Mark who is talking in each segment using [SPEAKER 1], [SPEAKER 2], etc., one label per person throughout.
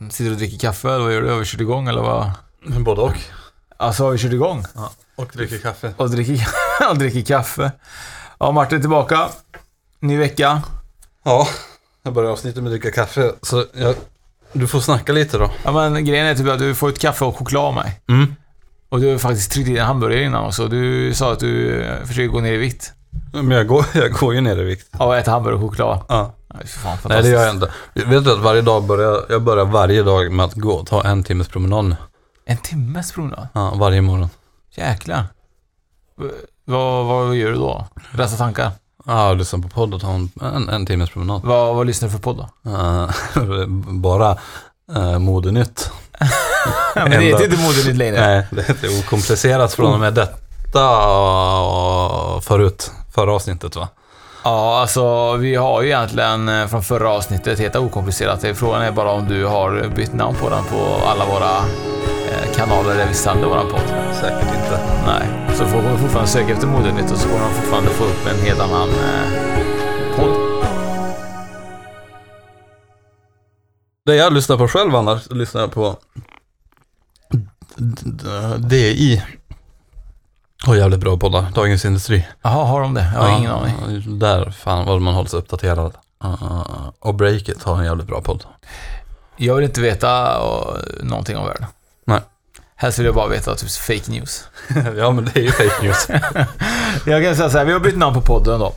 [SPEAKER 1] Mm, Sitter och dricker kaffe eller vad gör du? Har vi kört igång eller vad?
[SPEAKER 2] Mm, Både och.
[SPEAKER 1] Alltså har vi kört igång?
[SPEAKER 2] Och dricker kaffe.
[SPEAKER 1] Och dricker, och dricker kaffe. Ja, Martin är tillbaka. Ny vecka.
[SPEAKER 2] Ja, jag börjar avsnittet med att dricka kaffe. Så jag, du får snacka lite då.
[SPEAKER 1] Ja, men grejen är typ att du får ett kaffe och choklad av mig.
[SPEAKER 2] Mm.
[SPEAKER 1] Och du har faktiskt tryckt i en hamburgare innan också. Du sa att du eh, försöker gå ner i vikt.
[SPEAKER 2] Men jag går, jag går ju ner i vikt.
[SPEAKER 1] Ja, och äta hamburgare och choklad.
[SPEAKER 2] Ja.
[SPEAKER 1] Nej, fy fan,
[SPEAKER 2] Nej, det
[SPEAKER 1] fantastiskt.
[SPEAKER 2] gör jag inte. Vet du att varje dag börjar, jag börjar varje dag med att gå och ta en timmes promenad nu.
[SPEAKER 1] En timmes promenad?
[SPEAKER 2] Ja, varje morgon.
[SPEAKER 1] Jäklar. V- Vad, vad gör du då? Rensa tankar?
[SPEAKER 2] Ja, och lyssna på podd och ta en, en, en timmes promenad.
[SPEAKER 1] Vad, vad lyssnar du för podd då?
[SPEAKER 2] Ja, bara uh, modenytt.
[SPEAKER 1] Ja, men det heter inte Modernytt längre.
[SPEAKER 2] Nej, det är okomplicerat från och med detta och förut. Förra avsnittet va?
[SPEAKER 1] Ja, alltså vi har ju egentligen eh, från förra avsnittet hetat okomplicerat. Det- Frågan är bara om du har bytt namn på den på alla våra eh, kanaler där vi sänder våran podd.
[SPEAKER 2] Säkert inte.
[SPEAKER 1] Nej, så folk kommer fortfarande söka efter Modernytt och så kommer de fortfarande få upp en helt annan eh, podd.
[SPEAKER 2] Det jag lyssnar på själv annars, lyssnar jag på DI. Och jävligt bra poddar, Dagens Industri.
[SPEAKER 1] Jaha, har de det? Jag har ingen aning.
[SPEAKER 2] Där, fan vad man håller sig uppdaterad. Uh, och Breakit har en jävligt bra podd.
[SPEAKER 1] Jag vill inte veta eh, någonting om världen.
[SPEAKER 2] Nej.
[SPEAKER 1] Helst vill jag bara veta typ fake news.
[SPEAKER 2] ja men det är ju fake news.
[SPEAKER 1] Jag kan säga så här, vi har bytt namn på podden då.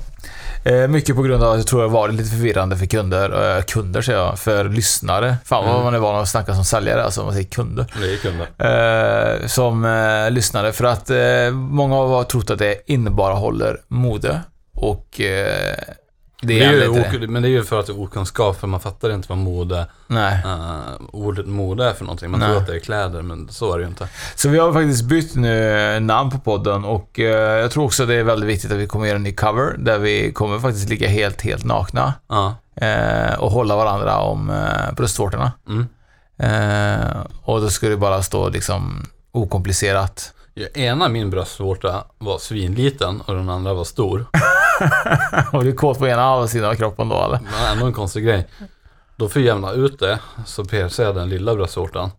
[SPEAKER 1] Eh, mycket på grund av att jag tror det var lite förvirrande för kunder, eh, kunder säger jag, för lyssnare. Fan vad
[SPEAKER 2] Mm.
[SPEAKER 1] man är van att snacka som säljare, alltså om man säger kunder.
[SPEAKER 2] det är kunder.
[SPEAKER 1] Eh, som eh, lyssnare, för att eh, många har trott att det innebara håller mode och eh,
[SPEAKER 2] Det
[SPEAKER 1] det
[SPEAKER 2] är
[SPEAKER 1] är
[SPEAKER 2] ju
[SPEAKER 1] inte det.
[SPEAKER 2] ok- men det är ju för att det är okunskap, för man fattar inte vad mode,
[SPEAKER 1] Nej.
[SPEAKER 2] eh, ordet mode är för någonting. Man
[SPEAKER 1] Nej.
[SPEAKER 2] tror att det är kläder, men så är det ju inte.
[SPEAKER 1] Så vi har faktiskt bytt nu namn på podden och eh, jag tror också det är väldigt viktigt att vi kommer göra en ny cover där vi kommer faktiskt ligga helt, helt nakna.
[SPEAKER 2] Ja.
[SPEAKER 1] eh, och hålla varandra om eh, bröstvårtorna.
[SPEAKER 2] Mm.
[SPEAKER 1] Eh, och då skulle det bara stå liksom okomplicerat.
[SPEAKER 2] Ena min bröstvårta var svinliten och den andra var stor.
[SPEAKER 1] och du är kåt på ena halva sidan av kroppen då eller?
[SPEAKER 2] Men ändå en konstig grej. Då för att jämna ut det så piercade jag den lilla bröstvårtan.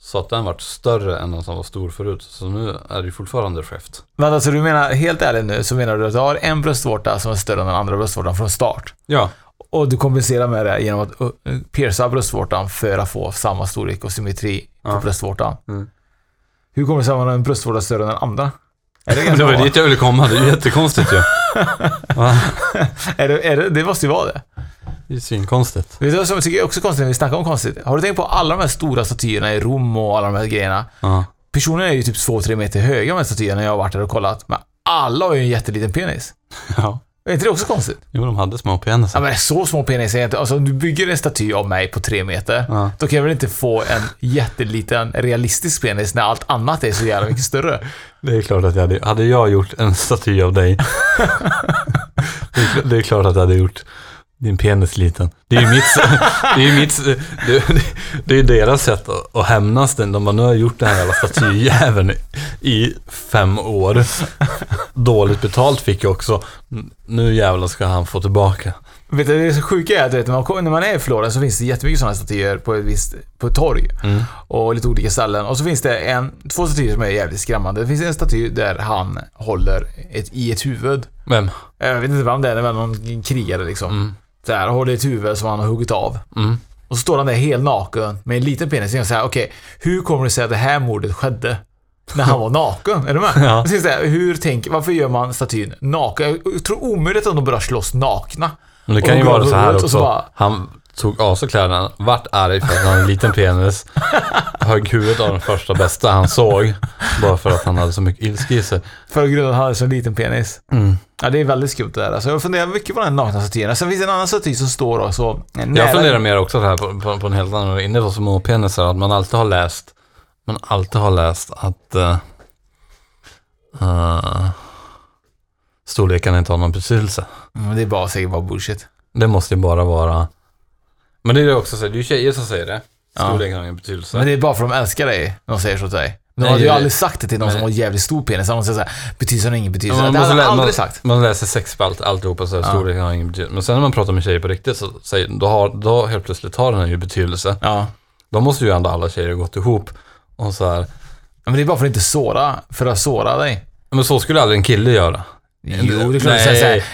[SPEAKER 2] Så att den vart större än den som var stor förut. Så nu är det ju fortfarande skevt.
[SPEAKER 1] Men alltså du menar, helt ärligt nu, så menar du att du har en bröstvårta som är större än den andra bröstvårtan från start.
[SPEAKER 2] Ja.
[SPEAKER 1] Och du kompenserar med det genom att uh, pierca bröstvårtan för att få samma storlek och symmetri på
[SPEAKER 2] Ja.
[SPEAKER 1] bröstvårtan.
[SPEAKER 2] Mm.
[SPEAKER 1] Hur kommer det sig att man har en bröstvårta större än den andra? Är det,
[SPEAKER 2] Det
[SPEAKER 1] ganska
[SPEAKER 2] var ju
[SPEAKER 1] bra?
[SPEAKER 2] dit jag ville komma. Det är ju jättekonstigt ju. Va?
[SPEAKER 1] är det, är det, det måste ju vara det.
[SPEAKER 2] Det är svinkonstigt.
[SPEAKER 1] Vet du vad som jag tycker är också konstigt när vi snackar om konstigt? Har du tänkt på alla de här stora statyerna i Rom och alla de här grejerna?
[SPEAKER 2] Ja.
[SPEAKER 1] Personerna är ju typ 2-3 meter höga med statyerna jag har varit där och kollat. Men alla har ju en jätteliten penis.
[SPEAKER 2] ja.
[SPEAKER 1] Är inte det också konstigt?
[SPEAKER 2] Jo, de hade små
[SPEAKER 1] Ja,
[SPEAKER 2] penisar.
[SPEAKER 1] men så små penisar är inte... Alltså om du bygger en staty av mig på 3 meter,
[SPEAKER 2] Ja.
[SPEAKER 1] då kan jag väl inte få en jätteliten realistisk penis när allt annat är så jävla mycket större.
[SPEAKER 2] Det är klart att jag hade, hade jag gjort en staty av dig. det, är, kl- det är klart att jag hade gjort din penis liten. Det är ju mitt, det är ju mitt, det, det är ju deras sätt att, att hämnas den. De bara, nu har jag gjort den här jävla statyjäveln i- i fem år. Dåligt betalt fick jag också. Nu jävlar ska han få tillbaka.
[SPEAKER 1] Vet du, det sjuka är att du vet, när, man, kom- när man är i Florens så finns det jättemycket sådana statyer på ett visst på ett torg.
[SPEAKER 2] Mm.
[SPEAKER 1] Och lite olika ställen. Och så finns det en, två statyer som är jävligt skrämmande. Det finns en staty där han håller ett, i ett huvud. Eh,
[SPEAKER 2] Vem?
[SPEAKER 1] Jag vet inte vem det är, det är väl någon krigare liksom. Så här, håller ett huvud som han har huggit av.
[SPEAKER 2] Mm.
[SPEAKER 1] Och så står han där helt naken med en liten penis. Och säger okej, hur kommer det sig att det här mordet skedde? När han var naken, är du med?
[SPEAKER 2] Ja.
[SPEAKER 1] Och Så är det så här, hur tänk, varför gör man statyn naken? Jag tror omöjligt att de börjar slåss nakna.
[SPEAKER 2] Men det
[SPEAKER 1] Och
[SPEAKER 2] kan ju
[SPEAKER 1] de går
[SPEAKER 2] vara så här
[SPEAKER 1] runt och så
[SPEAKER 2] också.
[SPEAKER 1] bara-
[SPEAKER 2] Han tog av sig kläderna, vart arg för att han hade en liten penis, högg huvudet av den första bästa han såg, bara för att han hade så mycket ilska i sig.
[SPEAKER 1] För grund av att han hade så liten penis.
[SPEAKER 2] Mm.
[SPEAKER 1] Ja, det är väldigt skumt det där. Alltså, jag funderar mycket på den här nakna statyn. Sen finns det en annan staty som står också nära.
[SPEAKER 2] Jag funderar mer också så här på, på, på en helt annan, inne på små penisar, att man alltid har läst, man alltid har läst att eh, eh, storleken inte har någon betydelse.
[SPEAKER 1] Mm, det är bara säkert bara bullshit.
[SPEAKER 2] Det måste ju bara vara, men det är ju också så, här, det är ju tjejer som säger det, storleken har ingen betydelse.
[SPEAKER 1] Men det är bara för att de älskar dig. De säger så till dig. De
[SPEAKER 2] Nej,
[SPEAKER 1] hade ju
[SPEAKER 2] det-
[SPEAKER 1] aldrig sagt det till någon
[SPEAKER 2] men-
[SPEAKER 1] som har jävligt stor penis. De säger såhär, betydelsen har ingen betydelse.
[SPEAKER 2] Ja,
[SPEAKER 1] det hade
[SPEAKER 2] lä-
[SPEAKER 1] de aldrig
[SPEAKER 2] man,
[SPEAKER 1] sagt.
[SPEAKER 2] Man läser sexspalt, alltihopa, så här, storleken har ingen betydelse. Men sen när man pratar med tjejer på riktigt så säger, då, har, då helt plötsligt har den här ju betydelse.
[SPEAKER 1] Ja.
[SPEAKER 2] De måste ju ändå alla tjejer gått ihop. Och så här,
[SPEAKER 1] Men det är bara för att inte såra, för att såra dig.
[SPEAKER 2] men så skulle aldrig en kille göra.
[SPEAKER 1] Jo, det är klart att säga såhär.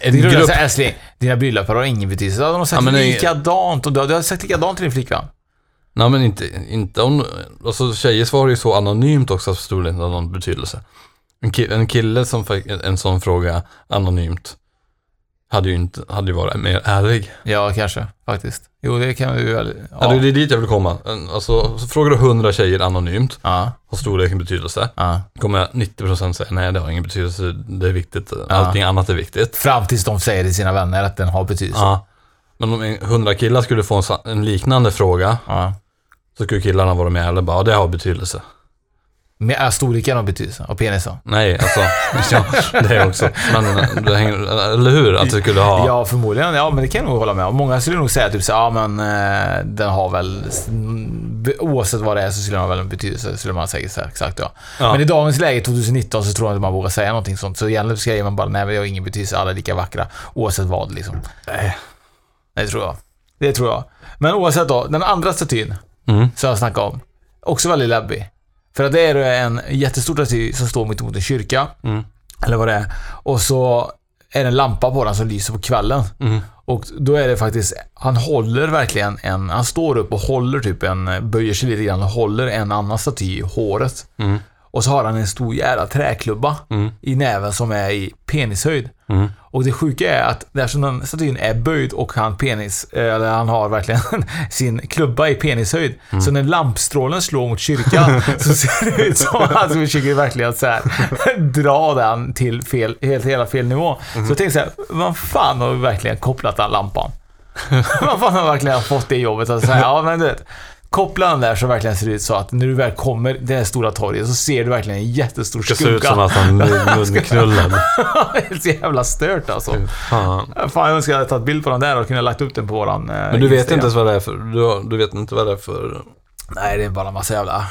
[SPEAKER 2] En
[SPEAKER 1] Det är klart
[SPEAKER 2] grupp-
[SPEAKER 1] att säga älskling, dina bröllop har ingen betydelse. Då hade de sagt
[SPEAKER 2] Ja, men det-
[SPEAKER 1] likadant och du hade sagt likadant till din flickvän.
[SPEAKER 2] Nej men inte, inte om, alltså tjejer svarar ju så anonymt också att det inte har någon betydelse. En, ki, en kille som fick en, en sån fråga anonymt hade ju inte, hade ju varit mer ärlig.
[SPEAKER 1] Ja, kanske. Faktiskt. Jo, det kan vi väl...
[SPEAKER 2] Ja.
[SPEAKER 1] Ja.
[SPEAKER 2] Alltså, det är dit jag vill komma. En- Alltså, så frågar du 100 tjejer anonymt,
[SPEAKER 1] Ja,
[SPEAKER 2] har storleken betydelse?
[SPEAKER 1] ja.
[SPEAKER 2] Kommer 90% säga nej det har ingen betydelse, det är viktigt, allting annat är viktigt.
[SPEAKER 1] Fram tills de säger till sina vänner att den har betydelse. Ja.
[SPEAKER 2] Ja. Men om en- 100 killar skulle få en, sa- en liknande fråga, så skulle killarna vara med eller bara, ja, det har betydelse.
[SPEAKER 1] Men är äh, storleken har betydelse och penisen?
[SPEAKER 2] Nej, alltså, ja, det också. Men eh, det hänger, eller hur? Att du skulle
[SPEAKER 1] Ja.
[SPEAKER 2] ha...
[SPEAKER 1] förmodligen. Ja, men det kan jag nog hålla med om. Många skulle nog säga typ så ja men eh, den har väl, mm, be- oavsett vad det är så skulle den ha väl en betydelse, skulle man säga så här, exakt ja.
[SPEAKER 2] Ja.
[SPEAKER 1] Men i dagens läge, 2019, så tror jag inte man vågar säga någonting sånt. Så egentligen säger man bara, nej men det har ingen betydelse, alla är lika vackra, oavsett vad liksom.
[SPEAKER 2] Nej.
[SPEAKER 1] Det tror jag. Det tror jag. Men oavsett då, den andra statyn
[SPEAKER 2] Mm.
[SPEAKER 1] som jag snackade om, också väldigt läbbig. För att det är en jättestor staty som står mitt emot en kyrka,
[SPEAKER 2] Mm.
[SPEAKER 1] eller vad det är. Och så är det en lampa på den som lyser på kvällen.
[SPEAKER 2] Mm.
[SPEAKER 1] Och då är det faktiskt, han håller verkligen en, han står upp och håller typ en, böjer sig lite grann och håller en annan staty i håret.
[SPEAKER 2] Mm.
[SPEAKER 1] Och så har han en stor jävla träklubba
[SPEAKER 2] Mm.
[SPEAKER 1] i näven som är i penishöjd.
[SPEAKER 2] Mm.
[SPEAKER 1] Och det sjuka är att eftersom den statyn är böjd och han penis, eh, eller han har verkligen sin klubba i penishöjd.
[SPEAKER 2] Mm.
[SPEAKER 1] Så när lampstrålen slår mot kyrkan så ser det ut som att han försöker verkligen så här, dra den till fel, helt, hela fel nivå.
[SPEAKER 2] Mm.
[SPEAKER 1] Så jag tänkte så här, vad fan har vi verkligen kopplat den lampan? vad fan har verkligen fått det jobbet att säga, ja men du vet. Koppla den där så verkligen ser det ut så att när du väl kommer till det här stora torget så ser du verkligen en jättestor
[SPEAKER 2] Det
[SPEAKER 1] skugga.
[SPEAKER 2] ser ut som att han är munknullad.
[SPEAKER 1] det är så jävla stört alltså.
[SPEAKER 2] Fan.
[SPEAKER 1] Fan, jag önskar jag hade tagit bild på den där och kunnat lagt upp den på våran eh,
[SPEAKER 2] Men du vet inte
[SPEAKER 1] Instagram.
[SPEAKER 2] ens vad det är för... Du, har- du vet inte vad det är för...
[SPEAKER 1] Nej, det är bara en massa jävla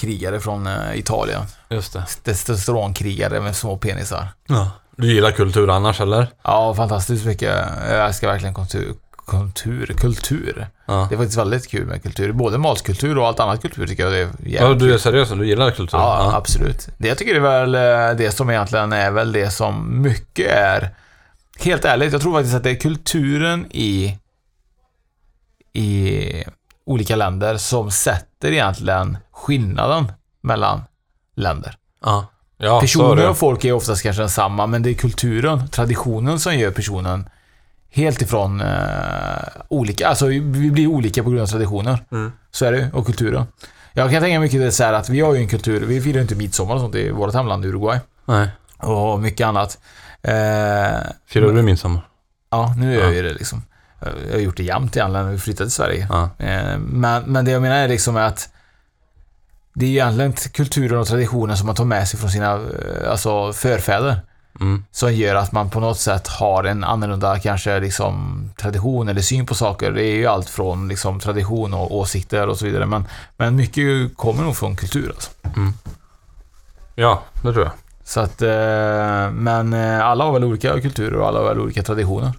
[SPEAKER 1] krigare från eh, Italien.
[SPEAKER 2] Just det.
[SPEAKER 1] Testosteronkrigare med små penisar.
[SPEAKER 2] Ja. Du gillar kultur annars, eller?
[SPEAKER 1] Ja, fantastiskt mycket. Jag älskar verkligen kultur. Kultur, kultur.
[SPEAKER 2] Ja.
[SPEAKER 1] Det är faktiskt väldigt kul med kultur. Både matkultur och allt annat kultur tycker jag det är jävligt
[SPEAKER 2] ja
[SPEAKER 1] kul.
[SPEAKER 2] du är seriös, du gillar kultur?
[SPEAKER 1] Ja, absolut. Det jag tycker det är väl eh, det som egentligen är väl det som mycket är. Helt ärligt, jag tror faktiskt att det är kulturen i, i olika länder som sätter egentligen skillnaden mellan länder.
[SPEAKER 2] Ja. Ja, så är
[SPEAKER 1] Personer
[SPEAKER 2] det.
[SPEAKER 1] och folk är oftast kanske densamma, men det är kulturen, traditionen som gör personen helt ifrån eh, olika. Alltså vi blir olika på grund av traditioner.
[SPEAKER 2] Mm.
[SPEAKER 1] Så är det ju, och kulturen. Jag kan tänka mycket det så här att vi har ju en kultur, vi firar ju inte midsommar och sånt i vårt hemland Uruguay.
[SPEAKER 2] Nej.
[SPEAKER 1] Och mycket annat. Eh,
[SPEAKER 2] Firar du midsommar?
[SPEAKER 1] ja, nu gör jag
[SPEAKER 2] Ja.
[SPEAKER 1] ju det liksom. Jag har gjort det jämt egentligen när vi flyttade till Sverige.
[SPEAKER 2] Ja.
[SPEAKER 1] Eh, men, men det jag menar är liksom att det är ju egentligen inte kulturen och traditionen som man tar med sig från sina eh, alltså, förfäder.
[SPEAKER 2] Mm.
[SPEAKER 1] Som gör att man på något sätt har en annorlunda kanske liksom tradition eller syn på saker. Det är ju allt från liksom tradition och åsikter och så vidare. Men, men mycket kommer nog från kultur alltså.
[SPEAKER 2] Ja, det tror jag.
[SPEAKER 1] Så att, eh, men eh, alla har väl olika kulturer och alla har väl olika traditioner.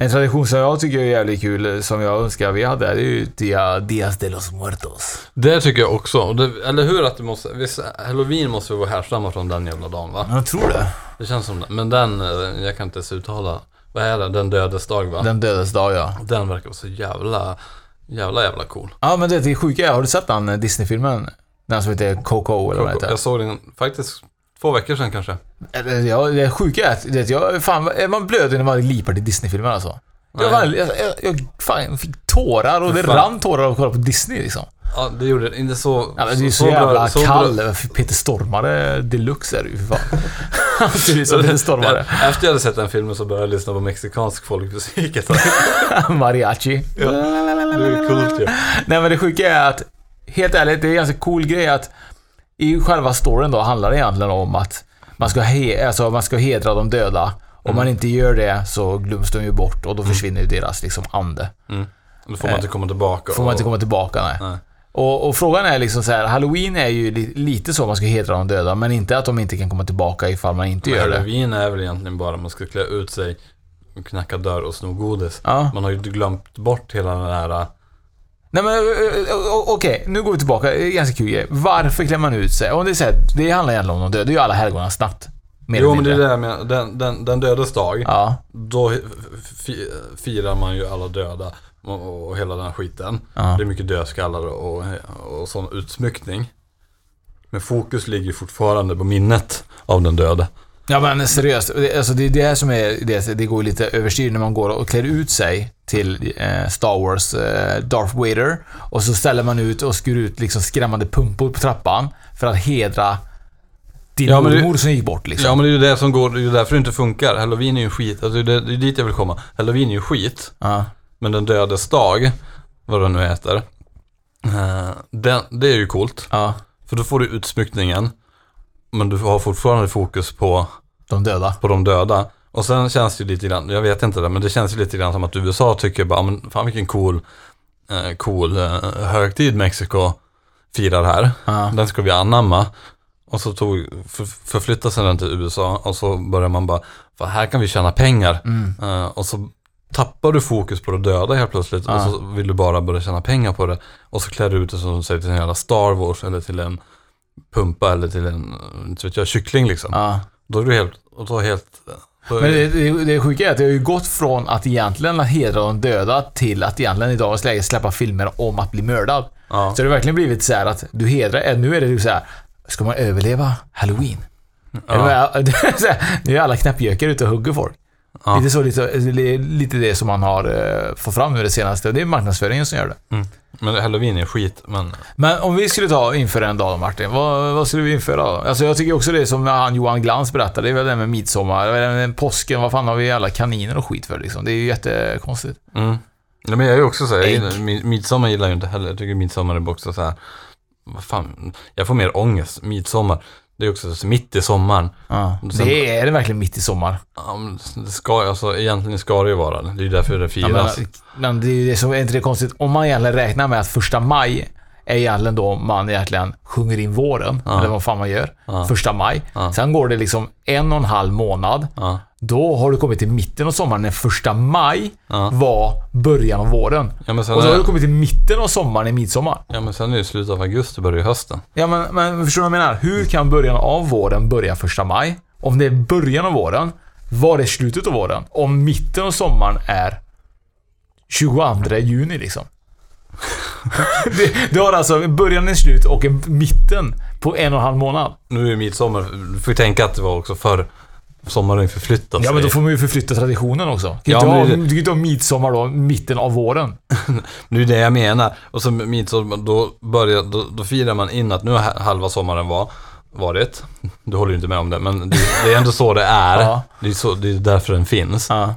[SPEAKER 1] En tradition som jag tycker är jävligt kul, eh, som jag önskar vi hade, det är ju Dia, Dias de los Muertos.
[SPEAKER 2] Det tycker jag också. Och Det, eller hur att det måste... Visst, halloween måste ju vara härstamma från den jävla dagen, va?
[SPEAKER 1] Jag tror det.
[SPEAKER 2] Det känns som det. Men den, eh, jag kan inte ens uttala. Vad är det? Den dödes dag va? Den,
[SPEAKER 1] Den dödes dag ja.
[SPEAKER 2] verkar vara så jävla, jävla jävla cool.
[SPEAKER 1] Ja men det är sjuka är, har du sett den eh, Disney-filmen? Den som heter Coco eller vad den heter?
[SPEAKER 2] Jag såg den faktiskt två veckor sedan kanske.
[SPEAKER 1] Eller, Ja, det sjuka är att det, att jag, fan, är man blöder när man lipar till Disney-filmer alltså. Jag,
[SPEAKER 2] Nej.
[SPEAKER 1] fan, jag, jag, jag fan, fick tårar och det
[SPEAKER 2] Fan.
[SPEAKER 1] rann tårar av att kolla på Disney liksom.
[SPEAKER 2] Ja, det gjorde det. Inte så...
[SPEAKER 1] Ja, men det är ju så,
[SPEAKER 2] bra-
[SPEAKER 1] jävla
[SPEAKER 2] så bra-
[SPEAKER 1] kall. Peter Stormare deluxe är det ju för fan. Han ser ut som Peter Stormare.
[SPEAKER 2] Efter jag hade sett den filmen så började jag lyssna på mexikansk folkmusik ett tag.
[SPEAKER 1] Mariachi.
[SPEAKER 2] Det är ju coolt ju.
[SPEAKER 1] Nej men det sjuka är att, helt ärligt, det är en ganska cool grej att i själva storyn då handlar det egentligen om att man ska, he- alltså, man ska hedra de döda.
[SPEAKER 2] Mm.
[SPEAKER 1] Om man inte gör det så glöms de ju bort och då försvinner ju deras liksom ande.
[SPEAKER 2] Då får man inte komma tillbaka.
[SPEAKER 1] Eh. Får man inte
[SPEAKER 2] och-
[SPEAKER 1] komma tillbaka nej.
[SPEAKER 2] Nej.
[SPEAKER 1] Och, och frågan är liksom så här, Halloween är ju li- lite så man ska hedra de döda, men inte att de inte kan komma tillbaka ifall man inte gör det.
[SPEAKER 2] Halloween är väl egentligen bara man ska klä ut sig, knacka dörr och sno godis.
[SPEAKER 1] Ja.
[SPEAKER 2] Man har ju glömt bort hela den här äh,
[SPEAKER 1] Nej men eh, eh, o- okej, nu går vi tillbaka. Det är Ganska kul grej. Varför klär man ut sig? Om det, är så här, det handlar egentligen om de döda. Det är ju alla helgonas natt. Mer
[SPEAKER 2] Jo
[SPEAKER 1] eller
[SPEAKER 2] men det är
[SPEAKER 1] mindre.
[SPEAKER 2] det jag menar. Den, den, den dödes dag.
[SPEAKER 1] Ja.
[SPEAKER 2] Då f- fi- firar man ju alla döda och, och hela den skiten.
[SPEAKER 1] Ja.
[SPEAKER 2] Det är mycket dödskallar och, och sån utsmyckning. Men fokus ligger fortfarande på minnet av den döde.
[SPEAKER 1] Ja men seriöst, det, alltså det är det här som är det, det går lite överstyr när man går och klär ut sig till eh, Star Wars eh, Darth Vader och så ställer man ut och skur ut liksom skrämmande pumpor på trappan för att hedra din
[SPEAKER 2] Ja, men det-
[SPEAKER 1] mormor som gick bort liksom.
[SPEAKER 2] Ja men det är ju det som går, det är ju därför det inte funkar. Halloween är ju skit, alltså det, det är dit jag vill komma. Halloween är ju skit,
[SPEAKER 1] Ja.
[SPEAKER 2] men den dödes dag, vad den nu heter, eh, den, det är ju coolt.
[SPEAKER 1] ja.
[SPEAKER 2] För då får du utsmyckningen, men du har fortfarande fokus på
[SPEAKER 1] De döda.
[SPEAKER 2] på de döda. Och sen känns det ju lite grann, jag vet inte det, men det känns ju lite grann som att USA tycker bara, men fan vilken cool, eh, cool eh, högtid Mexiko firar här.
[SPEAKER 1] Ja.
[SPEAKER 2] Den ska vi anamma. Och så tog, för, förflyttade sig den till USA och så börjar man bara, fan här kan vi tjäna pengar.
[SPEAKER 1] Mm.
[SPEAKER 2] Eh, och så tappar du fokus på de döda helt plötsligt och så vill du bara börja tjäna pengar på det. Och så klär du ut det som du säger till en jävla Star Wars eller till en pumpa eller till en, inte vet jag, kyckling liksom.
[SPEAKER 1] Ja.
[SPEAKER 2] Då är du helt, och då helt... Då
[SPEAKER 1] Men det, det, det sjuka är att det har ju gått från att egentligen att hedra de döda till att egentligen i dagens läge släppa filmer om att bli mördad.
[SPEAKER 2] Ja.
[SPEAKER 1] Så det har verkligen blivit så här att du hedrar, eh, nu är det ju så här, ska man överleva halloween? Eller vad är- det är så här, Nu är alla knäppjökar ute och hugger folk.
[SPEAKER 2] Ja.
[SPEAKER 1] Lite, så, lite, lite det som man har eh, fått fram nu det senaste. Det är marknadsföringen som gör det.
[SPEAKER 2] Mm. Men halloween är skit, men...
[SPEAKER 1] Men om vi skulle ta införa en dag då, Martin, vad, vad skulle vi införa då? Alltså jag tycker också det som han Johan Glans berättade, det är väl det med midsommar, det är väl det med påsken, vad fan har vi alla kaniner och skit för liksom? Det är ju jättekonstigt.
[SPEAKER 2] Mm. Nej, men jag är ju också så här, jag
[SPEAKER 1] Ägg.
[SPEAKER 2] gillar- mid- midsommar gillar jag ju inte heller. Jag tycker midsommar är också så här... Vad fan, jag får mer ångest. Midsommar, det är också så mitt i sommaren.
[SPEAKER 1] Ja.
[SPEAKER 2] Sen-
[SPEAKER 1] Det är det verkligen mitt i sommar.
[SPEAKER 2] Ja, men det ska, alltså, egentligen ska det ju vara det. Det är ju därför det
[SPEAKER 1] Ja,
[SPEAKER 2] firas.
[SPEAKER 1] men, men det är ju det som, är inte det konstigt? Om man egentligen räknar med att första maj är egentligen då man egentligen sjunger in våren, eller vad fan man gör. Första maj. Sen går det liksom en och en halv månad.
[SPEAKER 2] Ja.
[SPEAKER 1] Då har du kommit till mitten av sommaren när första maj var början av våren.
[SPEAKER 2] Ja, men sen
[SPEAKER 1] och så har
[SPEAKER 2] är-
[SPEAKER 1] du kommit till mitten av sommaren i midsommar.
[SPEAKER 2] ja, men sen är det ju slutet av augusti, börjar ju hösten.
[SPEAKER 1] Ja, men, men förstår du vad jag menar? Hur kan början av våren börja första maj? Om det är början av våren, var är slutet av våren? Om mitten av sommaren är 22 juni liksom. det, du har alltså början, en slut och en mitten på en och en halv månad.
[SPEAKER 2] Nu är ju midsommar, du får ju tänka att det var också förr. Sommaren förflyttat
[SPEAKER 1] Ja, men då
[SPEAKER 2] sig.
[SPEAKER 1] får man ju förflytta traditionen också. Du kan ju
[SPEAKER 2] Ja,
[SPEAKER 1] inte
[SPEAKER 2] men
[SPEAKER 1] ha- du
[SPEAKER 2] det-
[SPEAKER 1] kan ju inte ha midsommar då, mitten av våren.
[SPEAKER 2] Det är det jag menar. Och så midsommar, då, börjar, då, då firar man in att nu har halva sommaren var, varit. Du håller ju inte med om det, men det, det är ändå så det är.
[SPEAKER 1] Ja.
[SPEAKER 2] Det, är så, det är därför den finns.
[SPEAKER 1] Ja.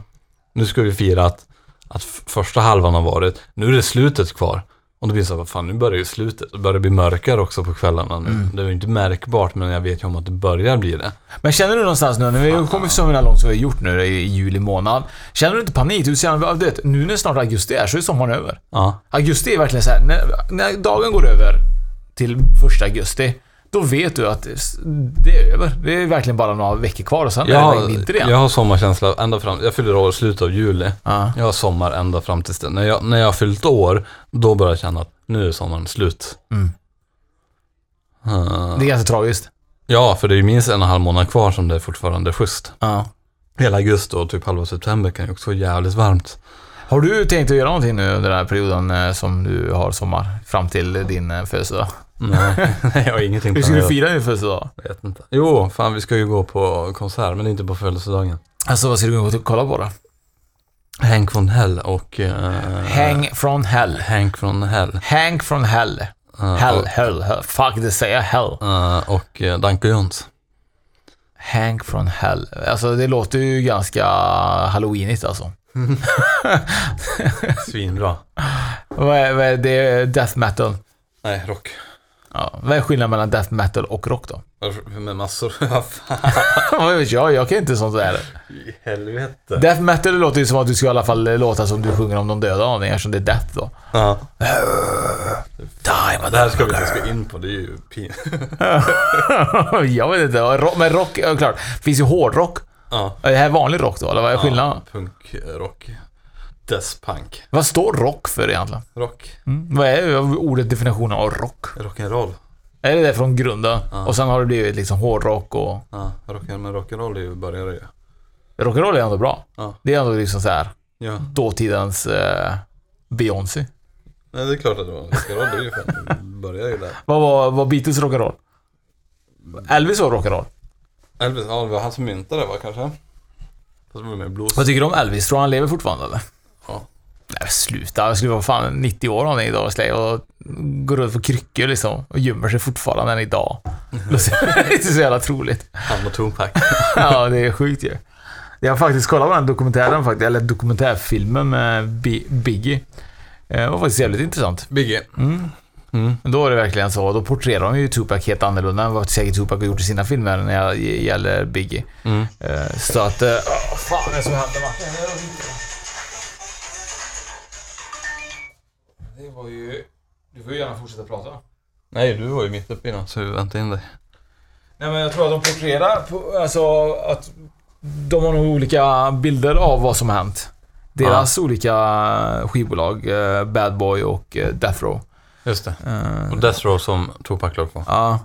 [SPEAKER 2] Nu ska vi fira att, att f- första halvan har varit. Nu är det slutet kvar. Och då blir det så här, vad fan, nu börjar ju slutet. Det börjar bli mörkare också på kvällarna nu.
[SPEAKER 1] Mm.
[SPEAKER 2] Det är ju inte märkbart, men jag vet ju om att det börjar bli det.
[SPEAKER 1] Men känner du någonstans nu, när vi har kommit så här långt som vi har gjort nu i juli månad. Känner du inte panik? Du ser, du vet, nu när snart augusti är så är sommaren över.
[SPEAKER 2] Ja.
[SPEAKER 1] Augusti är verkligen så här, när, när dagen går över till första augusti, då vet du att det är över. Det är verkligen bara några veckor kvar och sen
[SPEAKER 2] Jag
[SPEAKER 1] är det vinter igen.
[SPEAKER 2] har, jag har sommarkänsla ända fram, jag fyller år i slutet av juli.
[SPEAKER 1] Ja.
[SPEAKER 2] Jag har sommar ända fram tills det. När jag, när jag har fyllt år, då börjar jag känna att nu är sommaren slut.
[SPEAKER 1] Mm.
[SPEAKER 2] Eh,
[SPEAKER 1] Det är ganska tragiskt.
[SPEAKER 2] ja, för det är ju minst en och en halv månad kvar som det är fortfarande är schysst.
[SPEAKER 1] Ja.
[SPEAKER 2] Hela augusti och typ halva september kan ju också vara jävligt varmt.
[SPEAKER 1] Har du tänkt att göra någonting nu under den här perioden eh, som du har sommar? Fram till din eh, födelsedag?
[SPEAKER 2] Nej, jag har ingenting
[SPEAKER 1] Hur ska du
[SPEAKER 2] planerat.
[SPEAKER 1] fira din födelsedag?
[SPEAKER 2] Jag vet inte. Jo, fan vi ska ju gå på konsert, men inte på födelsedagen.
[SPEAKER 1] Alltså vad ska du gå och kolla på då?
[SPEAKER 2] Hank von Hell och... eh,
[SPEAKER 1] Hang from hell.
[SPEAKER 2] Hank von Hell.
[SPEAKER 1] Hank from hell.
[SPEAKER 2] eh,
[SPEAKER 1] Hell, hell, hell. Fuck, det säger jag hell.
[SPEAKER 2] Och, eh, och eh, Danko Jones.
[SPEAKER 1] Hank from hell. Alltså det låter ju ganska halloweenigt alltså.
[SPEAKER 2] Svinbra.
[SPEAKER 1] Vad är, vad är det? Death metal.
[SPEAKER 2] Nej, rock.
[SPEAKER 1] Ja, vad är skillnaden mellan death metal och rock då?
[SPEAKER 2] Varför- Med massor. Vad fan
[SPEAKER 1] Vad vet jag? Jag kan inte sånt där.
[SPEAKER 2] i helvete.
[SPEAKER 1] Death metal låter ju som att du ska i alla fall låta som du sjunger om de döda av dig, eftersom det är death då.
[SPEAKER 2] Ja.
[SPEAKER 1] Die,
[SPEAKER 2] Det här ska vi inte ska in på, det är ju pin.
[SPEAKER 1] mother- jag vet inte. Ro- Men rock, ja, klart. Finns ju hårdrock.
[SPEAKER 2] Ja.
[SPEAKER 1] Är det här vanlig rock då, eller vad är skillnaden?
[SPEAKER 2] Punkrock. dödspunk.
[SPEAKER 1] Vad står rock för egentligen?
[SPEAKER 2] Rock.
[SPEAKER 1] Mm. Vad är ordet definitionen av rock?
[SPEAKER 2] Rock'n'roll.
[SPEAKER 1] Är det det från grunden? Och sen har det blivit liksom hårdrock och...
[SPEAKER 2] Ja, rock, men rock'n'roll är ju började ju.
[SPEAKER 1] Rock'n'roll är ändå bra.
[SPEAKER 2] Ja.
[SPEAKER 1] Det är ändå liksom så här
[SPEAKER 2] Ja.
[SPEAKER 1] dåtidens eh, Beyoncé.
[SPEAKER 2] Nej, det är klart att det var rock'n'roll. Det är ju fan, det började ju där.
[SPEAKER 1] Vad var, var Beatles rock'n'roll? Elvis var rock'n'roll.
[SPEAKER 2] Elvis, ja, det var han som myntade det va, kanske? Fast det var mer blues.
[SPEAKER 1] Vad tycker du om Elvis? Tror du han lever fortfarande eller?
[SPEAKER 2] Ja.
[SPEAKER 1] Nej men sluta, jag skulle vara fan 90 år om det idag och slä- och går runt på kryckor liksom och gömmer sig fortfarande än idag. Det är inte så jävla troligt.
[SPEAKER 2] Han och Tupac.
[SPEAKER 1] Ja, det är sjukt ju. Jag har faktiskt kollat på den dokumentären faktiskt, eller dokumentärfilmen med Bi- Biggie. Eh, Det var faktiskt jävligt intressant.
[SPEAKER 2] Biggie.
[SPEAKER 1] Men Då är det verkligen så. Då porträtterar de ju Tupac helt annorlunda än vad säkert Tupac har gjort i sina filmer när det gäller Biggie. Eh, Så att... eh, Åh, fan, det är som händer va? Det var ju... Du får ju gärna fortsätta prata.
[SPEAKER 2] Nej, du var ju mitt uppe i något så vi väntade in dig.
[SPEAKER 1] Nej men jag tror att de porträtterar, på- alltså att de har nog olika bilder av vad som har hänt. Deras olika skivbolag, eh, Bad Boy och eh, Death Row.
[SPEAKER 2] Just det.
[SPEAKER 1] Eh,
[SPEAKER 2] Och Death Row som Tupac låg på.
[SPEAKER 1] Ja.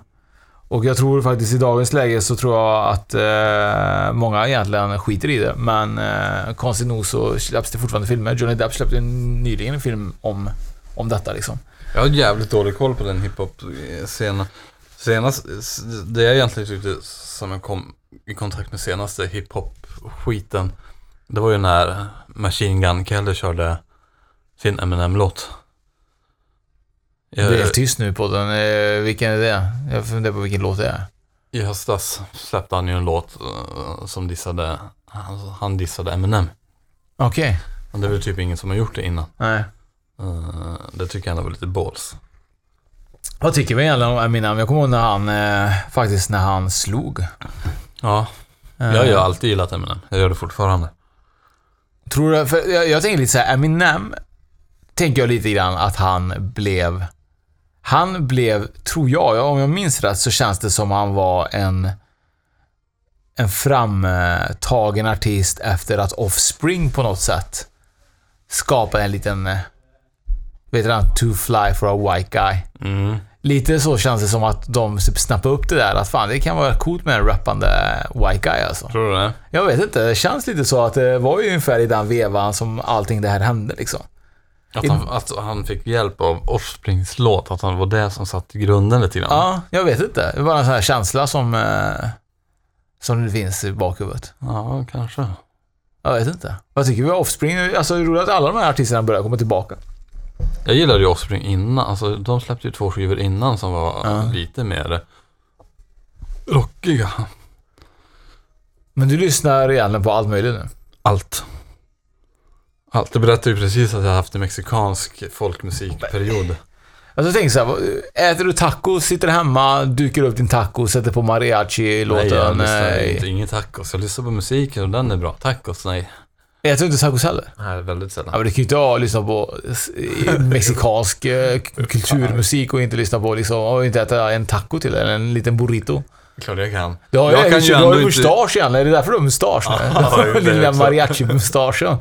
[SPEAKER 1] Och jag tror faktiskt i dagens läge så tror jag att eh, många egentligen skiter i det. Men eh, konstigt nog så släpps det fortfarande filmer. Johnny Depp släppte ju nyligen en film om, om detta liksom.
[SPEAKER 2] Jag har jävligt dålig koll på den eh, hiphop-scenen. Senast, det jag egentligen tyckte som jag kom i kontakt med senaste hiphop-skiten, det var ju när Machine Gun Kelly körde sin Eminem-låt.
[SPEAKER 1] Det är
[SPEAKER 2] Jag-
[SPEAKER 1] helt tyst nu på den. Eh, vilken är det? Jag funderar på vilken låt det är.
[SPEAKER 2] I höstas släppte han ju en låt eh, som dissade, han, han dissade Eminem.
[SPEAKER 1] Okej.
[SPEAKER 2] Men det är väl typ ingen som har gjort det innan.
[SPEAKER 1] Nej.
[SPEAKER 2] Eh, det tycker jag ändå var lite balls.
[SPEAKER 1] Vad tycker vi egentligen om Eminem? Jag kommer ihåg när han, eh, faktiskt när han slog. Eh,
[SPEAKER 2] Ja, jag har ju alltid gillat Eminem. Jag gör det fortfarande.
[SPEAKER 1] Tror du, för jag, jag tänker lite så här, Eminem tänker jag lite grann att han blev... Han blev, tror jag, ja, om jag minns rätt, så känns det som han var en... En framtagen artist efter att Offspring på något sätt skapade en liten... eh, Vet du den? Too fly for a white guy.
[SPEAKER 2] Mm.
[SPEAKER 1] Lite så känns det som att de typ snappar upp det där. Att fan, det kan vara coolt med en rappande white guy alltså.
[SPEAKER 2] Tror du det?
[SPEAKER 1] Jag vet inte, det känns lite så att det var ju ungefär i den vevan som allting det här hände liksom.
[SPEAKER 2] Att han, att han fick hjälp av Offsprings låt, att han var det som satte grunden lite grann.
[SPEAKER 1] Ja, jag vet inte. Det var en sån här känsla som, eh, som det finns i bakhuvudet.
[SPEAKER 2] Ja, kanske.
[SPEAKER 1] Jag vet inte. Vad tycker vi om Offspring? Alltså det är roligt att alla de här artisterna börjar komma tillbaka.
[SPEAKER 2] Jag gillade ju Offspring innan, alltså de släppte ju två skivor innan som var
[SPEAKER 1] Ja.
[SPEAKER 2] lite mer rockiga.
[SPEAKER 1] Men du lyssnar egentligen på allt möjligt nu. Alltså,
[SPEAKER 2] Allt. Allt. Det berättade ju precis att jag haft en mexikansk folkmusikperiod.
[SPEAKER 1] Alltså tänk så här, vad- äter du tacos, sitter hemma, dukar upp din taco, sätter på
[SPEAKER 2] Nej, jag
[SPEAKER 1] mariachi-låten.
[SPEAKER 2] lyssnar
[SPEAKER 1] eh,
[SPEAKER 2] inte. Ingen tacos. Jag lyssnar på musiken och den är bra. Tacos, nej.
[SPEAKER 1] Äter du inte tacos heller?
[SPEAKER 2] Nej, väldigt sällan.
[SPEAKER 1] Ja, men det kan ju inte jag lyssna på s- i- mexikansk eh, k- kulturmusik och inte lyssna på liksom, och inte äta en taco till eller en liten burrito.
[SPEAKER 2] Klart jag kan.
[SPEAKER 1] Du har
[SPEAKER 2] jag
[SPEAKER 1] ju,
[SPEAKER 2] kan
[SPEAKER 1] du har ju mustasch igen, är det därför du har mustasch nu?
[SPEAKER 2] Ja, det är
[SPEAKER 1] Lilla
[SPEAKER 2] också.
[SPEAKER 1] mariachi-mustaschen.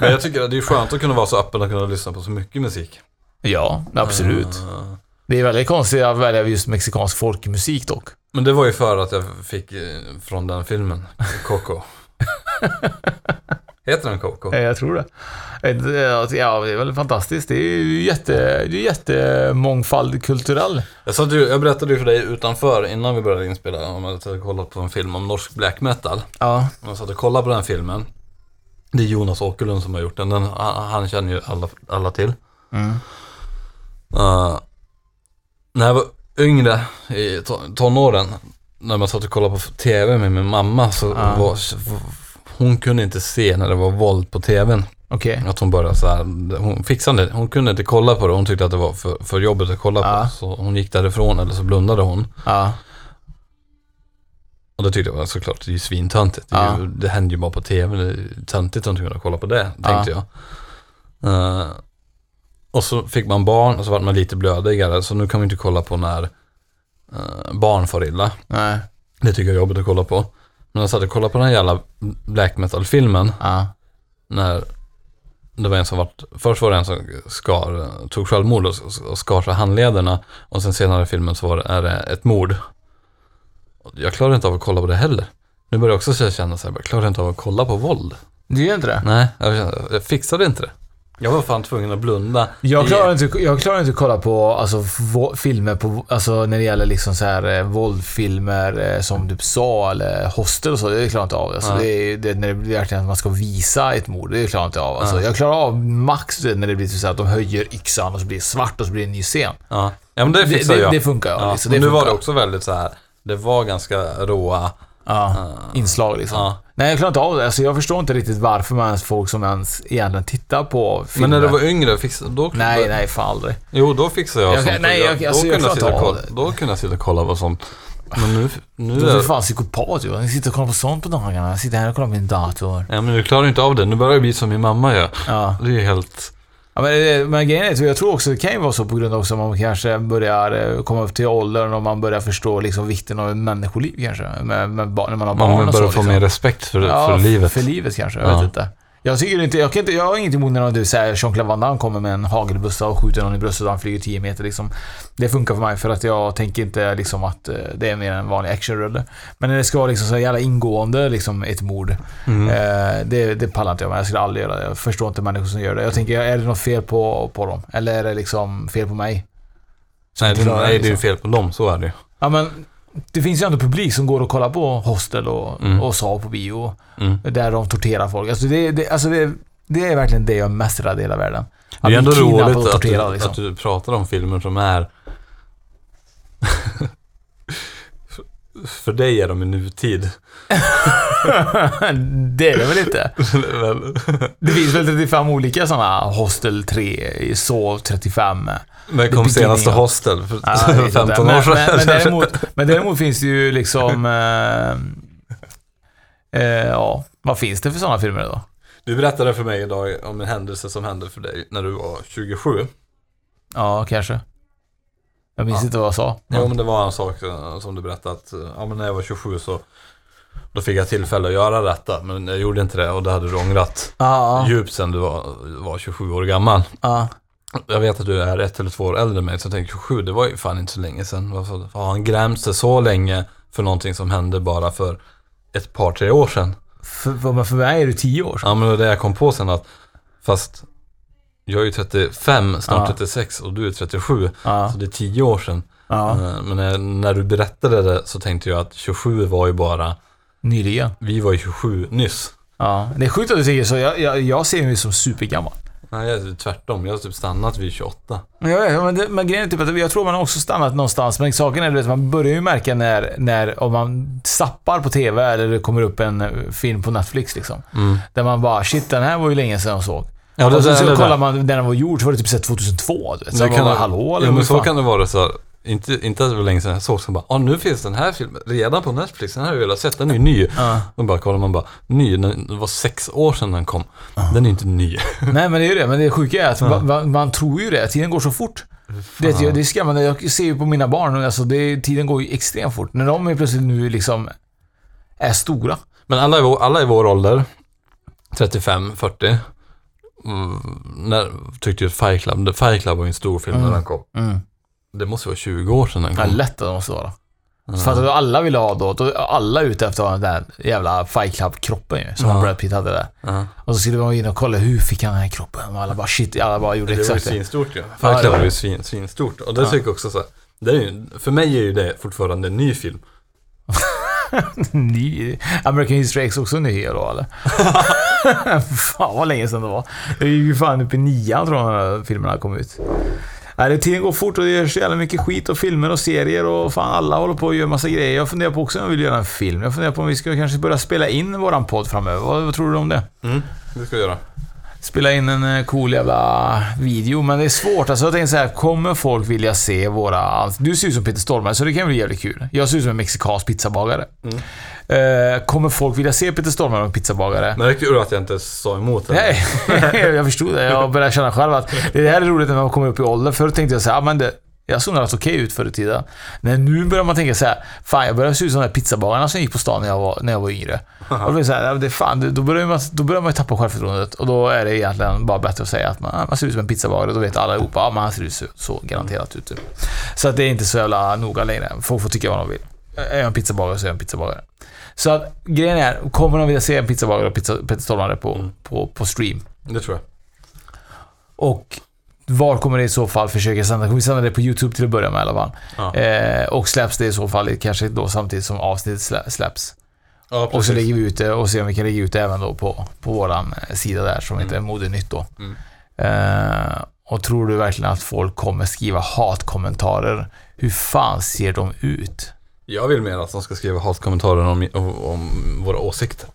[SPEAKER 2] Men jag tycker att det är skönt att kunna vara så öppen och kunna lyssna på så mycket musik.
[SPEAKER 1] Ja, absolut.
[SPEAKER 2] Eh,
[SPEAKER 1] Det är väldigt konstigt att välja just mexikansk folkmusik dock.
[SPEAKER 2] Men det var ju för att jag fick eh, från den filmen, Coco. Heter den Coco?
[SPEAKER 1] Eh, Jag tror det. Eh, det- Ja, det är väl fantastiskt. Det är ju jätte, det är jättemångfald kulturell.
[SPEAKER 2] Jag, satt ju, jag berättade ju för dig utanför innan vi började inspela om att jag hade kollat på en film om norsk black metal.
[SPEAKER 1] Ja.
[SPEAKER 2] Och Jag satt och kollade på den filmen. Det är Jonas Åkerlund som har gjort den. den han, han känner ju alla, alla till.
[SPEAKER 1] Mm.
[SPEAKER 2] Eh, när jag var yngre, i to- tonåren, när man satt och kollade på TV med min mamma så var, hon kunde inte se när det var våld på TVn.
[SPEAKER 1] Okej.
[SPEAKER 2] Att hon började så här, hon fixade hon kunde inte kolla på det. Hon tyckte att det var för, för jobbigt att kolla
[SPEAKER 1] Ja.
[SPEAKER 2] på. Så hon gick därifrån eller så blundade hon.
[SPEAKER 1] Ja.
[SPEAKER 2] Och det tyckte jag var såklart, det är ju svintöntigt. Det, är ju, det händer ju bara på tv, det är töntigt att inte kunna kolla på det, tänkte jag. Eh, och så fick man barn och så var man lite blödigare, så nu kan vi inte kolla på när eh, barn far illa.
[SPEAKER 1] Nej.
[SPEAKER 2] Det tycker jag är jobbigt att kolla på. Men jag satt och kollade på den här jävla black metal-filmen
[SPEAKER 1] Ja.
[SPEAKER 2] när det var en som vart, först var det en som skar, tog självmord och, och skar sig handlederna. Och sen senare i filmen så var det, är det ett mord. Och Jag klarar inte av att kolla på det heller. Nu börjar jag också känna så här, jag klarar inte av att kolla på våld.
[SPEAKER 1] Du gör inte det?
[SPEAKER 2] Nej, jag, känner- jag fixade inte det. Jag var fan tvungen att blunda.
[SPEAKER 1] Jag
[SPEAKER 2] i-
[SPEAKER 1] klarar inte, jag klarar inte att kolla på alltså, vå- filmer på, alltså, när det gäller liksom så här, eh, våldfilmer eh, som typ Saw eller Hostel och så. Det klarar jag inte av. Alltså,
[SPEAKER 2] Nej.
[SPEAKER 1] det, är- det, när det blir verkligen att man ska visa ett mord, det klarar jag inte av. Alltså, jag klarar av max det när det blir typ så här att de höjer yxan och så blir det svart och så blir det en ny scen.
[SPEAKER 2] Ja, ja men det
[SPEAKER 1] Det-
[SPEAKER 2] fixade
[SPEAKER 1] det-
[SPEAKER 2] jag.
[SPEAKER 1] det funkar, ja.
[SPEAKER 2] ja.
[SPEAKER 1] Liksom,
[SPEAKER 2] men
[SPEAKER 1] det
[SPEAKER 2] nu var det
[SPEAKER 1] funkar.
[SPEAKER 2] också väldigt så här, det var ganska råa.
[SPEAKER 1] Ja, inslag liksom.
[SPEAKER 2] Ja.
[SPEAKER 1] Nej, jag klarar inte av det. Alltså, jag förstår inte riktigt varför man ens folk som ens egentligen tittar på filmer.
[SPEAKER 2] Men när du var yngre, fix, då,
[SPEAKER 1] Nej, nej, fan aldrig.
[SPEAKER 2] Jo, då fixade jag,
[SPEAKER 1] Jag kan-
[SPEAKER 2] sånt.
[SPEAKER 1] nej, jag-
[SPEAKER 2] då,
[SPEAKER 1] alltså, jag
[SPEAKER 2] kunde
[SPEAKER 1] klarar
[SPEAKER 2] jag sitta
[SPEAKER 1] inte
[SPEAKER 2] och
[SPEAKER 1] av
[SPEAKER 2] kolla, då kunde jag sitta och kolla på sånt. Men nu, nu
[SPEAKER 1] Du är för
[SPEAKER 2] är,
[SPEAKER 1] fan psykopat ju. Jag sitter och kollar på sånt på dagarna. Jag sitter här och kollar på min dator.
[SPEAKER 2] ja, men du klarar inte av det. Nu börjar det bli som min mamma gör.
[SPEAKER 1] Ja.
[SPEAKER 2] Det är helt...
[SPEAKER 1] Ja, men, det- men grejen är att jag tror också det kan ju vara så på grund av också att man kanske börjar eh, komma upp till åldern och man börjar förstå liksom vikten av ett människoliv kanske. Med, med barn, när man har barn
[SPEAKER 2] Man
[SPEAKER 1] och
[SPEAKER 2] börjar
[SPEAKER 1] så,
[SPEAKER 2] få
[SPEAKER 1] liksom.
[SPEAKER 2] mer respekt för,
[SPEAKER 1] Ja,
[SPEAKER 2] för livet.
[SPEAKER 1] För livet kanske. Jag
[SPEAKER 2] Ja.
[SPEAKER 1] vet inte. Jag tycker inte, jag, kan inte, jag har inget emot när du säger Jean-Claude Van Damme kommer med en hagelbussa och skjuter någon i bröstet och han flyger 10 meter liksom. Det funkar för mig för att jag tänker inte liksom att eh, det är mer en vanlig actionrulle. Men när det ska vara liksom så jävla ingående liksom ett mord.
[SPEAKER 2] Mm.
[SPEAKER 1] Eh, det, det pallar inte jag med. Jag skulle aldrig göra det. Jag förstår inte människor som gör det. Jag tänker, är det något fel på, på dem? Eller är det liksom fel på mig?
[SPEAKER 2] nej, det,
[SPEAKER 1] klarar
[SPEAKER 2] nej, det är ju
[SPEAKER 1] liksom.
[SPEAKER 2] fel på dem. Så är det ju.
[SPEAKER 1] Ja men, det finns ju ändå publik som går och kollar på Hostel och, och Saw på bio.
[SPEAKER 2] Mm.
[SPEAKER 1] Där de torterar folk. Alltså det, det, alltså det, det är verkligen det jag är mest rädd i hela världen.
[SPEAKER 2] Det är ändå
[SPEAKER 1] bli kidnappad
[SPEAKER 2] roligt
[SPEAKER 1] och
[SPEAKER 2] att du,
[SPEAKER 1] torterad, liksom.
[SPEAKER 2] att du pratar om filmer som är... för dig är de i nutid.
[SPEAKER 1] det är det väl inte?
[SPEAKER 2] Väl?
[SPEAKER 1] Det finns väl 35 olika sådana Hostel 3, Saw 35.
[SPEAKER 2] När kom
[SPEAKER 1] beginning,
[SPEAKER 2] senaste
[SPEAKER 1] ja.
[SPEAKER 2] Hostel? För
[SPEAKER 1] Ja, jag vet inte.
[SPEAKER 2] 15 Alltså, år
[SPEAKER 1] men, men,
[SPEAKER 2] sedan.
[SPEAKER 1] men, däremot, men däremot finns det ju liksom... Eh, eh, ja, vad finns det för sådana filmer då?
[SPEAKER 2] Du berättade för mig idag om en händelse som hände för dig när du var 27.
[SPEAKER 1] Ja, kanske. Jag minns
[SPEAKER 2] Ja.
[SPEAKER 1] inte vad jag sa.
[SPEAKER 2] Jo, men det var en sak eh, som du berättade att eh, ja, men när jag var 27 så då fick jag tillfälle att göra detta, men jag gjorde inte det och det hade du ångrat
[SPEAKER 1] Ja, ja,
[SPEAKER 2] djupt sen du var, var 27 år gammal.
[SPEAKER 1] ja.
[SPEAKER 2] Jag vet att du är ett eller två år äldre än mig, så jag tänkte 27, det var ju fan inte så länge sedan. Varför varför har han grämt sig så länge för någonting som hände bara för ett par, tre år sedan?
[SPEAKER 1] För, men för mig är du 10 år.
[SPEAKER 2] Ja, men det var det jag kom på sen att, fast jag är ju 35, snart
[SPEAKER 1] Ja.
[SPEAKER 2] 36 och du är 37.
[SPEAKER 1] Ja.
[SPEAKER 2] Så det är 10 år sedan.
[SPEAKER 1] Ja,
[SPEAKER 2] Eh, Men när, när du berättade det så tänkte jag att 27 var ju bara,
[SPEAKER 1] nyligen.
[SPEAKER 2] vi var ju 27 nyss.
[SPEAKER 1] Ja, det är sjukt att du säger så. Jag, jag, jag ser mig som supergammal.
[SPEAKER 2] Nej, jag är tvärtom. Jag har typ stannat vid 28.
[SPEAKER 1] Men Jag vet, men, det, men grejen är typ att jag tror man har också stannat någonstans. Men saken är du vet, man börjar ju märka när, när om man zappar på TV eller det kommer upp en eh, film på Netflix liksom. Där man bara, shit den här var ju länge sedan jag såg.
[SPEAKER 2] Mm. Ja,
[SPEAKER 1] och sen så kollar man när den var gjord så var det typ så här 2002. Du vet. Så
[SPEAKER 2] Det
[SPEAKER 1] man
[SPEAKER 2] kan
[SPEAKER 1] bara,
[SPEAKER 2] det-
[SPEAKER 1] hallå eller
[SPEAKER 2] ja, men
[SPEAKER 1] vad
[SPEAKER 2] så
[SPEAKER 1] fan?
[SPEAKER 2] kan det vara så här, inte, inte att det var länge sedan jag såg, så bara, ah, nu finns den här filmen redan på Netflix, den här har jag velat sett, den är ju ny. Och bara kollar man bara, ny, den, det var sex år sedan den kom. Den är inte ny.
[SPEAKER 1] Nej men det är ju det. Men det sjuka är att va- va- man tror ju det. Tiden går så fort. Det, är- det är skrämmande. Jag ser ju på mina barn, alltså det, tiden går ju extremt fort. När de är plötsligt nu liksom är stora.
[SPEAKER 2] Men alla i vår, alla i vår ålder, 35, 40, mm, när, tyckte ju att Fight Club, The Fight Club var ju en stor film när den kom.
[SPEAKER 1] Mm.
[SPEAKER 2] Det måste vara 20 år sedan den
[SPEAKER 1] Ja,
[SPEAKER 2] kom.
[SPEAKER 1] lätt att de måste vara. Mm. För att då alla ville ha då, då alla är ute efter att ha den där jävla Fight Club-kroppen ju, som
[SPEAKER 2] Ja.
[SPEAKER 1] Brad Pitt hade där.
[SPEAKER 2] Ja.
[SPEAKER 1] Och så skulle man in och kolla, hur fick han den här kroppen? Och alla bara shit, alla bara gjorde
[SPEAKER 2] Det var ju
[SPEAKER 1] exakt det.
[SPEAKER 2] svinstort ju.
[SPEAKER 1] Ja,
[SPEAKER 2] Fight
[SPEAKER 1] det
[SPEAKER 2] Club
[SPEAKER 1] var
[SPEAKER 2] var
[SPEAKER 1] det.
[SPEAKER 2] ju svin, svinstort. Och det tycker jag också så här, det är ju, för mig är ju det fortfarande en ny film.
[SPEAKER 1] Ny, American History X också ny då eller? fan vad länge sedan det var. Det är ju fan uppe i nian tror jag när de här filmerna kom ut. Nej, det tiden går fort och det görs så jävla mycket skit och filmer och serier och fan alla håller på och gör massa grejer. Jag funderar på också om jag vill göra en film. Jag funderar på om vi ska kanske börja spela in våran podd framöver. Vad, vad tror du om det?
[SPEAKER 2] Mm, det ska jag göra.
[SPEAKER 1] spela in en eh, cool jävla video, men det är svårt. Alltså jag tänker så här, kommer folk vilja se våra... Du ser ut som Peter Stormare, så det kan bli jävligt kul. Jag ser ut som en mexikansk pizzabagare. Eh, kommer folk vilja se Peter Stormare och en pizzabagare?
[SPEAKER 2] Märkte du att jag inte sa emot det?
[SPEAKER 1] Nej, jag förstod det. Jag började känna själv att det här är roligt när man kommer upp i ålder. Förr tänkte jag så här, ah, men det, Jag såg rätt okej ut förr i tiden. Men nu börjar man tänka så här, fan jag börjar se ut som de här pizzabagarna som gick på stan när jag var, när jag var yngre. Och då, blir det så här, ja, det är fan, då, börjar man, då börjar man ju tappa självförtroendet och då är det egentligen bara bättre att säga att man, man ser ut som en pizzabagare. Då vet alla ihop, ja men han ser ut så, så garanterat ut. typ. Så att det är inte så jävla noga längre. Folk får tycka vad de vill. Är jag en pizzabagare så är jag en pizzabagare. Så att grejen är, kommer de vilja se en pizzabagare och pizza, pizzatolvare på,
[SPEAKER 2] Mm.
[SPEAKER 1] på, på stream?
[SPEAKER 2] Det tror jag.
[SPEAKER 1] Och var kommer det i så fall försöka sända? Kommer vi sända det på YouTube till att börja med i alla fall?
[SPEAKER 2] Ja.
[SPEAKER 1] Eh, och släpps det i så fall kanske då samtidigt som avsnittet slä- släpps.
[SPEAKER 2] Ja,
[SPEAKER 1] Och så
[SPEAKER 2] precis.
[SPEAKER 1] lägger vi ut det och ser om vi kan lägga ut det även då på, på våran eh, sida där som heter Modenytt då.
[SPEAKER 2] Mm.
[SPEAKER 1] Eh, och tror du verkligen att folk kommer skriva hatkommentarer? Hur fan ser de ut?
[SPEAKER 2] Jag vill mer att de ska skriva hatkommentarer om, om, om våra åsikter.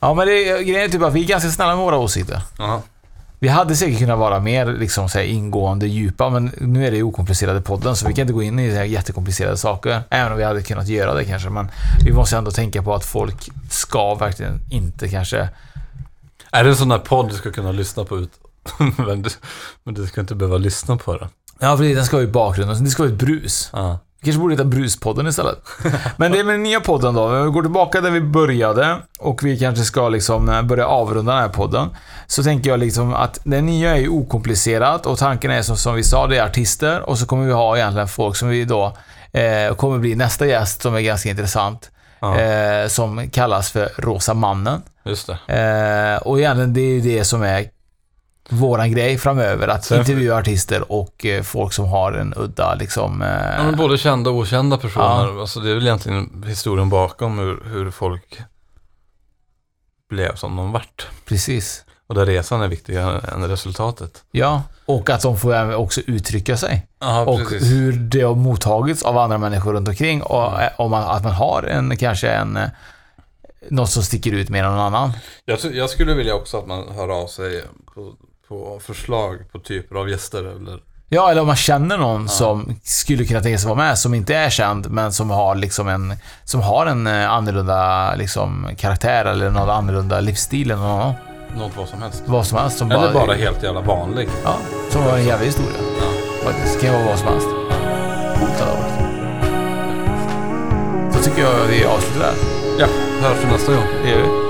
[SPEAKER 1] Ja men det, grejen är typ att vi är ganska snälla med våra åsikter.
[SPEAKER 2] Ja.
[SPEAKER 1] Vi hade säkert kunnat vara mer liksom, så här, ingående, djupa, men nu är det ju okomplicerade podden så vi kan inte gå in i så här jättekomplicerade saker. Även om vi hade kunnat göra det kanske, men vi måste ändå tänka på att folk ska verkligen inte kanske...
[SPEAKER 2] Är det en sån där podd du ska kunna lyssna på ut? men, du, men du ska inte behöva lyssna på den.
[SPEAKER 1] Ja, för den ska ju i bakgrunden, det ska vara ett brus.
[SPEAKER 2] Ja.
[SPEAKER 1] Vi kanske borde heta Bruspodden istället. Men det är med den nya podden då. Om vi går tillbaka där vi började och vi kanske ska liksom eh, börja avrunda den här podden. Så tänker jag liksom att det nya är ju okomplicerat och tanken är som, som vi sa, det är artister och så kommer vi ha egentligen folk som vi då eh, kommer bli nästa gäst som är ganska intressant.
[SPEAKER 2] Ja.
[SPEAKER 1] Eh, som kallas för Rosa mannen.
[SPEAKER 2] Just det.
[SPEAKER 1] Eh, och egentligen det är ju det som är våran grej framöver. Att
[SPEAKER 2] Sen-
[SPEAKER 1] intervjua artister och eh, folk som har en udda liksom... eh,
[SPEAKER 2] Ja, men både kända och okända personer. Alltså, det är väl egentligen historien bakom hur, hur folk blev som de vart.
[SPEAKER 1] Precis.
[SPEAKER 2] Och där resan är viktigare än resultatet.
[SPEAKER 1] Ja, och att de får även också uttrycka sig.
[SPEAKER 2] Ja,
[SPEAKER 1] och hur det har mottagits av andra människor runt omkring.
[SPEAKER 2] Mm.
[SPEAKER 1] Och eh, om man, att man har en, kanske en, eh, något som sticker ut mer än någon annan.
[SPEAKER 2] Jag, tror- jag skulle vilja också att man hör av sig på, på förslag på typer av gäster eller...
[SPEAKER 1] Ja, eller om man känner någon som skulle kunna tänka sig vara med, som inte är känd, men som har liksom en, som har en eh, annorlunda liksom, karaktär eller någon annorlunda livsstil eller någon annan.
[SPEAKER 2] Något vad som helst.
[SPEAKER 1] Vad som helst. Som
[SPEAKER 2] Eller bara helt jävla vanlig.
[SPEAKER 1] Ja, som har en jävla historia. Faktiskt. Det kan vara vad som helst. Hotad av det. Så tycker jag vi avslutar där.
[SPEAKER 2] Ja, hörs vi nästa gång.
[SPEAKER 1] Det gör vi.